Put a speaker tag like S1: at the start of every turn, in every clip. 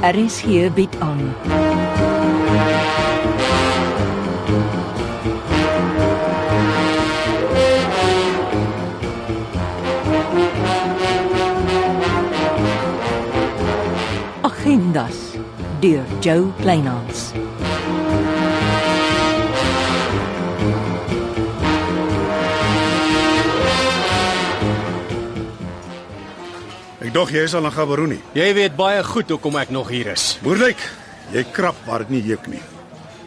S1: RSG bied aan. Agendas deur Jo Kleinhans.
S2: Ek dog jy is al in Gaborone.
S3: Jy weet baie goed hoekom ek nog hier is.
S2: Moeilik. Jy krap maar dit nie juk nie.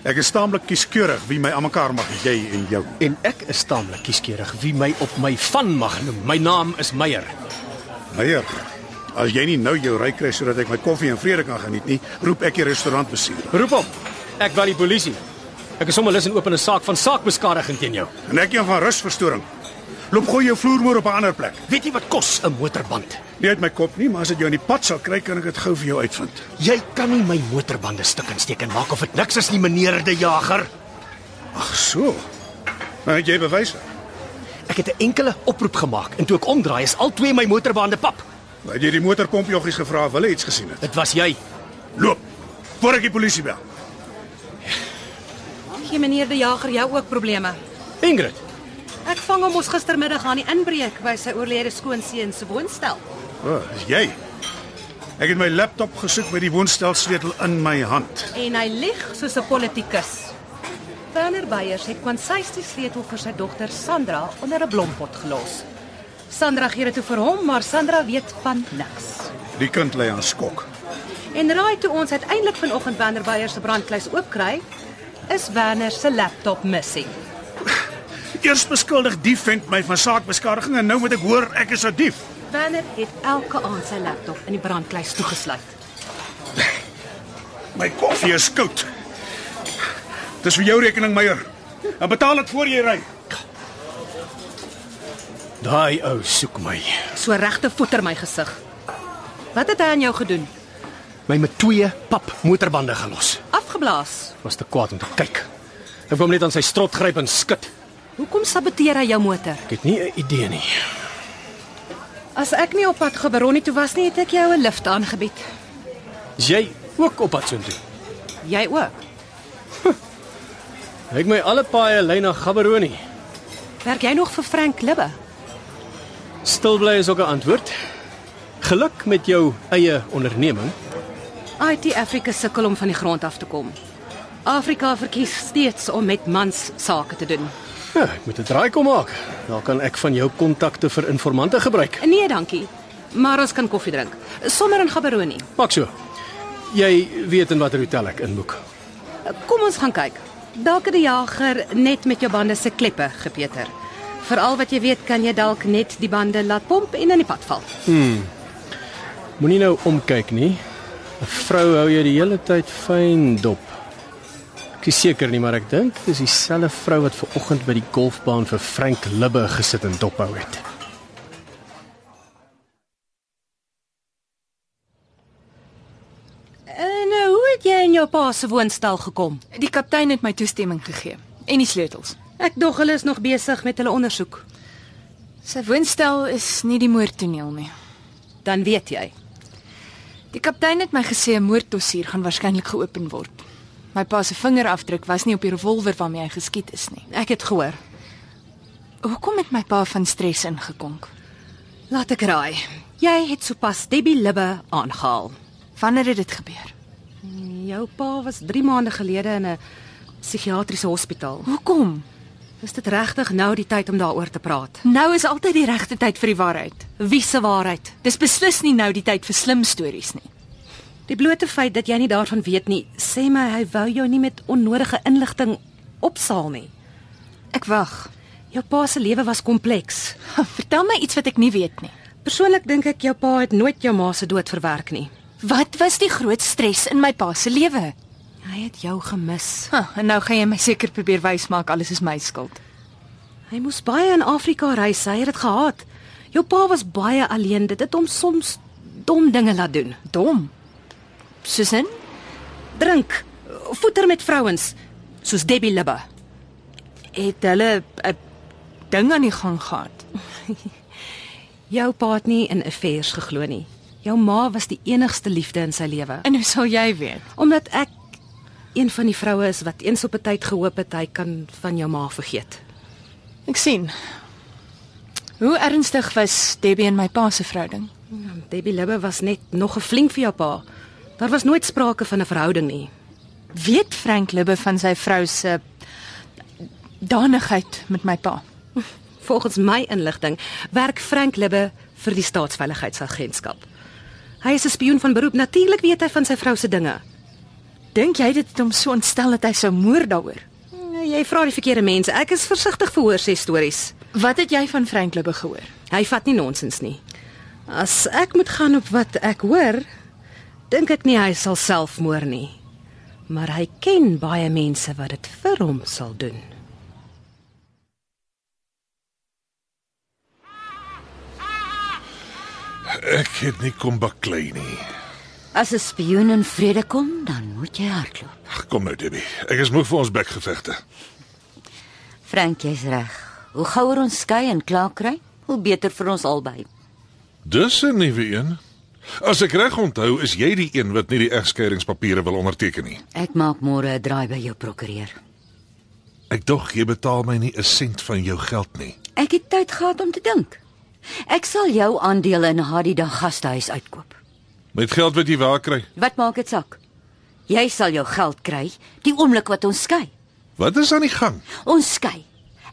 S2: Ek is taamlik kieskeurig wie my aan mekaar mag jy en jou.
S3: En ek is taamlik kieskeurig wie my op my van mag noem. My naam is Meyer.
S2: Meier, as jy nie nou jou ry kry sodat ek my koffie in vrede kan geniet nie, roep ek die restaurantbestuurder.
S3: Roep hom. Ek bel die polisie. Ek is sommer lus en open 'n saak van saakbeskadiging teen jou.
S2: En ek een van rusverstoring. Loop gooi jou vloermoer op 'n ander plek.
S3: Weet jy wat kos 'n motorband?
S2: Nie uit my kop nie, maar as dit jou in die pad sal kry, kan ek dit gou vir jou uitvind.
S3: Jy kan nie my motorbande stik en steek en maak of dit niks is nie, meneer De Jager.
S2: Ag so. Nou het jy bewyse.
S3: Ek het 'n enkele oproep gemaak en toe ek omdraai is al twee my motorbande pap.
S2: Het jy die motorpompjoggies gevra of hulle iets gesien het?
S3: Dit was jy.
S2: Loop. Voor ek die polisie bel.
S4: Gee meneer De Jager jou ook probleme.
S3: Ingrid,
S4: Ek vang hom ons gistermiddag aan die inbreuk by sy oorlede skoonseun se woonstel.
S2: O, oh, is jy? Ek het my laptop gesoek met die woonstelsleutel in my hand.
S4: En hy lieg soos 'n politikus. Werner Beyers het kwansy's die sleutel vir sy dogter Sandra onder 'n blompot gelos. Sandra gee dit toe vir hom, maar Sandra weet van niks.
S2: Die kind lê aan skok.
S4: En raai toe ons uiteindelik vanoggend Werner Beyers se brandkluis oopkry, is Werner se laptop missing.
S2: Eers beskuldig die vent my van saakbeskadiging en nou moet ek hoor ek is 'n dief.
S4: Werner het elke aand sy laptop in die brandkluis toegesluit.
S2: My koffie is koud. Dis vir jou rekening, Meyer. En betaal dit voor jy ry.
S3: daai ou soek my.
S4: So regte voeter my gesig. Wat het hy aan jou gedoen?
S3: My met twee pap motorbande gelos.
S4: Afgeblaas.
S3: Was te kwaad om te kyk. Ek wou hom net aan sy strot gryp en skud.
S4: Hoekom saboteer hy jou motor?
S3: Ek het nie 'n idee nie.
S4: As ek nie op pad Gaborone toe was nie, het ek jou 'n lift aangebied.
S3: Is jy ook op pad soontoe?
S4: Jy ook.
S3: Lyk my alle paaie lei na Gaborone.
S4: Werk jy nog vir Frank Libbe?
S3: Stil bly is ook 'n antwoord. Geluk met jou eie onderneming.
S4: IT Africa sukkel om van die grond af te kom. Afrika verkies steeds om met mans sake te doen.
S3: Ja, ek moet 'n draai kom maak. Dan kan ek van jou kontakte vir informante gebruik.
S4: Nee, dankie. Maar ons kan koffie drink. Sommer in Gaborone.
S3: Maak so. Jy weet in watter hotel ek inboek.
S4: Kom ons gaan kyk. Dalk het die jager net met jou bande se kleppe gepeter. Veral wat jy weet kan jy dalk net die bande laat pomp en in die pad val.
S3: Moenie nou omkyk nie. 'n Vrou hou jy die hele tyd fyn dop. Ek is seker nie, maar ek dink dis dieselfde vrou wat ver oggend by die golfbaan vir Frank Libbe gesit en dophou het.
S4: En uh, hoe het jy in jou pa se woonstel gekom?
S5: Die kaptein het my toestemming gegee en die sleutels.
S4: Ek dog hulle is nog besig met hulle ondersoek.
S5: Sy woonstel is nie die moordtoneel nie.
S4: Dan weet jy.
S5: Die kaptein het my gesê 'n moorddossier gaan waarskynlik geopen word. My pa se vingerafdruk was nie op die revolver waarmee hy geskiet is nie.
S4: Ek het gehoor.
S5: Hoekom het my pa van stres ingekonk?
S4: Laat ek raai. Jy het sopas Debbie Libbe aangehaal.
S5: Wanneer het dit gebeur?
S4: Jou pa was 3 maande gelede in 'n psigiatriese hospitaal.
S5: Hoekom?
S4: Is dit regtig nou die tyd om daaroor te praat?
S5: Nou is altyd die regte tyd vir die waarheid.
S4: Wie se waarheid?
S5: Dis beslis nie nou die tyd vir slim stories nie.
S4: Die blote feit dat jy nie daarvan weet nie, sê my hy wou jou nie met onnodige inligting opsaal nie.
S5: Ek wag.
S4: Jou pa se lewe was kompleks.
S5: Vertel my iets wat ek nie weet nie.
S4: Persoonlik dink ek jou pa het nooit jou ma se dood verwerk nie.
S5: Wat was die groot stres in my pa se lewe?
S4: Hy het jou gemis.
S5: Huh, en nou gaan jy my seker probeer wys maak alles is my skuld.
S4: Hy moes baie in Afrika reis, hy het dit gehaat. Jou pa was baie alleen, dit het hom soms dom dinge laat doen.
S5: Dom. Susan,
S4: Drink, voeter met vrouens, soos Debbie Libbe.
S5: het hulle 'n ding aan die gang gehad.
S4: Jou pa het nie in affairs geglo nie. Jou ma was die enigste liefde in sy lewe.
S5: En hoe sal jy weet?
S4: Omdat ek een van die vroue is wat eens op 'n tyd gehoop het hy kan van jou ma vergeet.
S5: Ek sien. Hoe ernstig was Debbie en my pa se verhouding?
S4: Debbie Libbe was net nog 'n flink vir jou pa. Daar was nooit sprake van 'n verhouding nie.
S5: Weet Frank Libbe van sy vrou se danigheid met my pa?
S4: Volgens my inligting werk Frank Libbe vir die staatsveiligheidsagentskap. Hy is 'n spioen van beroep. Natuurlik weet hy van sy vrou se dinge.
S5: Dink jy dit het hom so ontstel dat hy sou moer daaroor?
S4: Nee, Jy vra die verkeerde mense. Ek is versigtig vir hoorsê stories.
S5: Wat het jy van Frank Libbe gehoor?
S4: Hy vat nie nonsens nie. As ek moet gaan op wat ek hoor, dink ek nie hy sal selfmoord nie. Maar hy ken baie mense wat dit vir hom sal doen.
S6: Ek het nie kom baklei nie.
S7: As 'n spioen in vrede kom, dan moet jy hardloop.
S6: Ag, Kom nou, Debbie. Ek is moeg vir ons bekgevegte.
S7: Frank, jy's reg. Hoe gouer ons skei en klaar kry, hoe beter vir ons albei.
S6: Dis 'n nuwe een. As ek reg onthou, is jy die een wat nie die egskeidingspapiere wil onderteken nie.
S7: Ek maak môre 'n draai by jou prokureur.
S6: Ek dog jy betaal my nie 'n sent van jou geld nie.
S7: Ek het tyd gehad om te dink. Ek sal jou aandele in Hadida gastehuis uitkoop.
S6: Met geld wat jy waar kry.
S7: Wat maak dit saak? Jy sal jou geld kry die oomblik wat ons skei.
S6: Wat is aan die gang?
S7: Ons skei.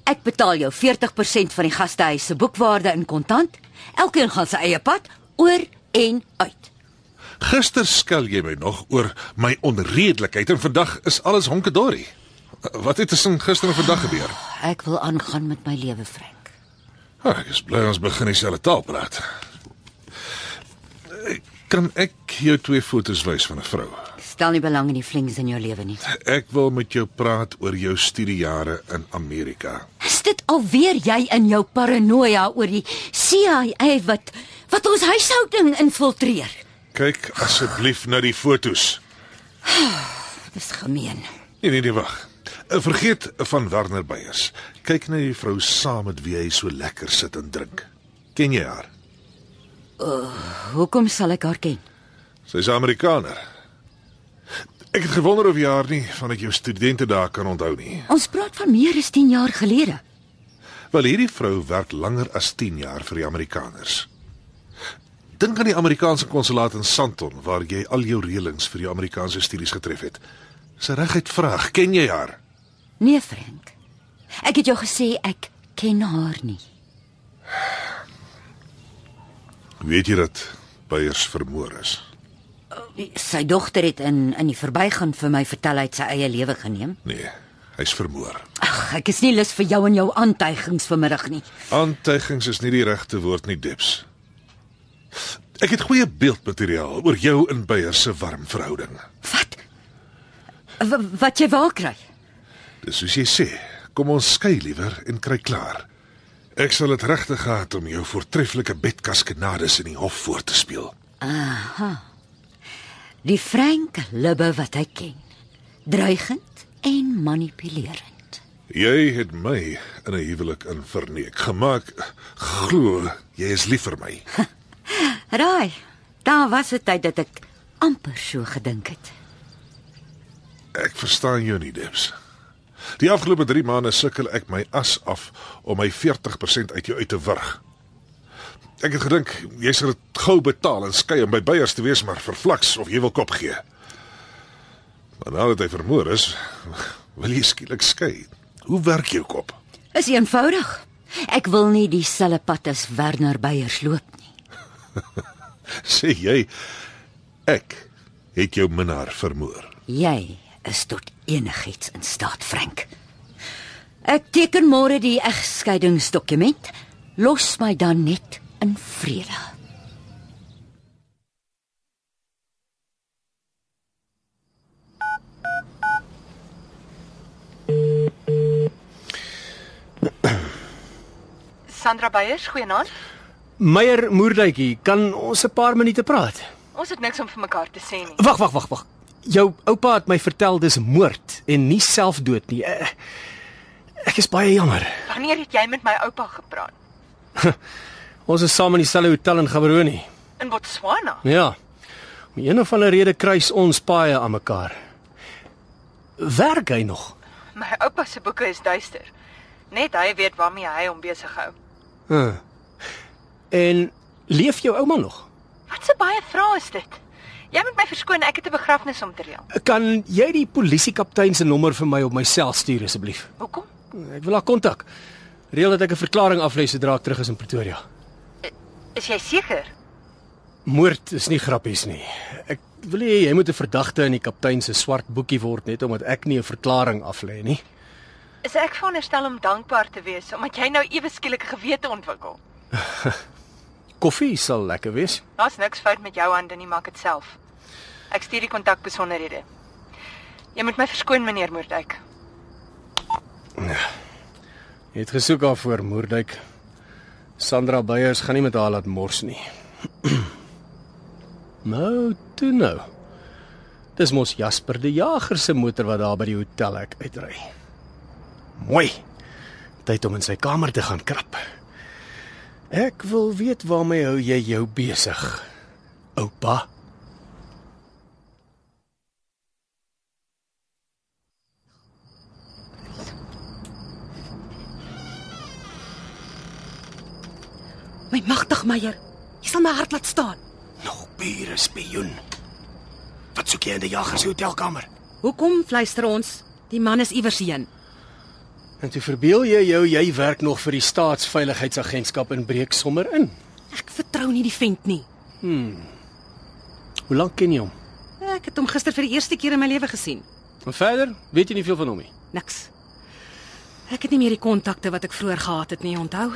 S7: Ek betaal jou 40% van die gastehuis se boekwaarde in kontant. Elkeen gaan sy eie pad oor en uit.
S6: Gister skel jy my nog oor my onredelikheid en vandag is alles honkedorrie. Wat het tussen gister en vandag gebeur?
S7: Ek wil aangaan met my lewe, Frank.
S6: Ah, ek is bly ons begin dieselfde taal praat. Kan ek jou twee fotos wys van 'n vrou?
S7: Stel nie belang in die flings in jou lewe nie.
S6: Ek wil met jou praat oor jou studiejare in Amerika.
S7: Is dit alweer jy in jou paranoia oor die CIA wat wat ons huishouding infiltreer?
S6: Kyk asseblief na die fotos.
S7: Dis gemeen.
S6: Nee nee nee wag. Eh, Vergeet van Werner Beyers. Kyk na die vrou saam met wie hy so lekker sit en drink. Ken jy haar?
S7: Hoekom sal ek haar ken?
S6: Sy's 'n Amerikaner. Ek het gewonder of jy haar nie van uit jou studente daar kan onthou nie.
S7: Ons praat van meer as 10 jaar gelede.
S6: Wel hierdie vrou werk langer as 10 jaar vir die Amerikaners. Dink aan die Amerikaanse konsulaat in Sandton waar jy al jou reëlings vir jou Amerikaanse studies getref het. Sy reguit vraag, ken jy haar?
S7: Nee, Frank. Ek het jou gesê ek ken haar nie.
S6: Weet jy dat Beyers vermoor is?
S7: Sy dogter het in in die verbygaan vir my vertel hy het sy eie lewe geneem.
S6: Nee, hy's vermoor.
S7: Ag, ek is nie lus vir jou en jou aantuigings vanmiddag nie.
S6: Aantuigings is nie die regte woord nie, Debs. Ek het goeie beeldmateriaal oor jou en Beyers se warm verhouding.
S7: Wat? W wat jy waar kry?
S6: Dis soos jy sê, kom ons skei liewer en kry klaar. Ek sal dit regtig gehad om jou voortreffelike bedkaskenades in die hof voor te speel.
S7: Die Frank Libbe wat hy ken. Dreigend en manipulerend.
S6: Jy het my in 'n huwelik in verneek gemaak. Glo, jy is lief vir my.
S7: Raai. Daar was 'n tyd dat ek amper so gedink het.
S6: Ek verstaan jou nie, Debs. Die afgelope 3 maande sukkel ek my as af om my 40% uit jou uit te wurg. Ek het gedink jy sal dit gou betaal en skei om by Beyers te wees, maar verflaks of jy wil kop gee. Maar nou dat hy vermoor is, wil jy skielik skei. Hoe werk jou kop?
S7: Is eenvoudig. Ek wil nie dieselfde pad as Werner Beyers loop nie.
S6: Sê jy ek het jou minnaar vermoor.
S7: Jy is tot enigiets in staat, Frank. Ek teken môre die egskeidingsdokument. Los my dan net in vrede.
S5: Sandra Beyers, goeienaand.
S3: Meyer Moerduytjie, kan ons 'n paar minute praat?
S5: Ons het niks om vir mekaar te sê nie.
S3: Wag, wag, wag, wag. Jou oupa het my vertel dis moord en nie selfdood nie. Eh, Ek is baie jammer.
S5: Wanneer het jy met my oupa gepraat?
S3: Ons is saam in dieselfde hotel in Gaborone.
S4: In Botswana.
S3: Ja. Om een of ander rede kruis ons paaie aan mekaar. Werk hy nog?
S4: My oupa se boeke is duister. Net hy weet waarmee hy hom besig hou.
S3: Huh. En leef jou ouma nog?
S4: Wat 'n baie vrae is dit. Jy moet my verskoon, ek het 'n begrafnis om te reël.
S3: Kan jy die polisiekaptein se nommer vir my op my sel stuur asseblief?
S4: Hoekom?
S3: Ek wil haar kontak. Reël dat ek 'n verklaring aflê sodra ek terug is in Pretoria.
S4: Is jy seker?
S3: Moord is nie grappies nie. Ek wil nie jy moet 'n verdagte in die kaptein se swart boekie word net omdat ek nie 'n verklaring aflê nie.
S4: Is ek veronderstel om dankbaar te wees omdat jy nou ewe skielik 'n gewete ontwikkel?
S3: Koffie sal lekker wees.
S4: Daar's niks fout met jou hande nie, maak dit self. Ek stuur die kontakbesonderhede. Jy moet my verskoon, meneer Moerdijk.
S3: Ja. Jy het gesoek haar voor Moerdijk. Sandra Beyers gaan nie met haar laat mors nie. nou, toe nou. Dis mos Jasper die Jager se motor wat daar by die hotel ek uitry. Mooi. Tyd om in sy kamer te gaan krap. Ek wil weet waarmee hou jy jou besig? Oupa.
S4: My magtig Meyer, jy sal my hart laat staan.
S3: Nog bier spioen. Wat soek jy in die Jager se hotelkamer?
S4: Hoekom fluister ons? Die man is iewers heen.
S3: En toe verbeel jy jou jy werk nog vir die staatsveiligheidsagentskap en breek sommer in.
S4: Ek vertrou nie die vent nie.
S3: Hoe lank ken jy hom?
S4: Ek het hom gister vir die eerste keer in my lewe gesien.
S3: En verder weet jy nie veel van hom nie.
S4: Niks. Ek het nie meer die kontakte wat ek vroeër gehad het nie, onthou?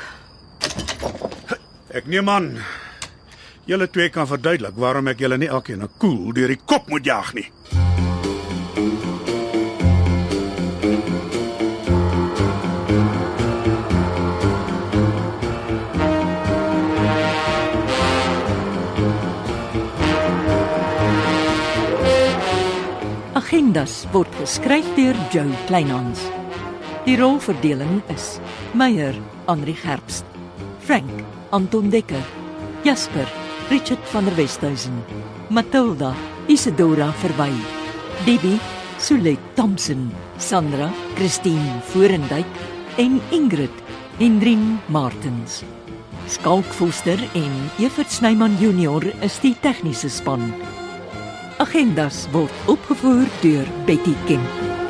S2: Ek neem aan julle twee kan verduidelik waarom ek julle nie elkeen 'n koel deur die kop moet jaag nie.
S5: Agendas word geskryf deur Jo Kleinhans. Die rolverdeling is: Meyer, Henri Gerst, Frank, Anton Dekker, Jasper, Richard van der Westhuizen, Matilda, Isidora Verwy, Debbie, Sulet Thompson, Sandra, Christine Forendyk en Ingrid Hendrin Martens. Skalk Foster en Evert Snyman Junior is die tegniese span. Agendas word opgevoer deur Betty Kemp.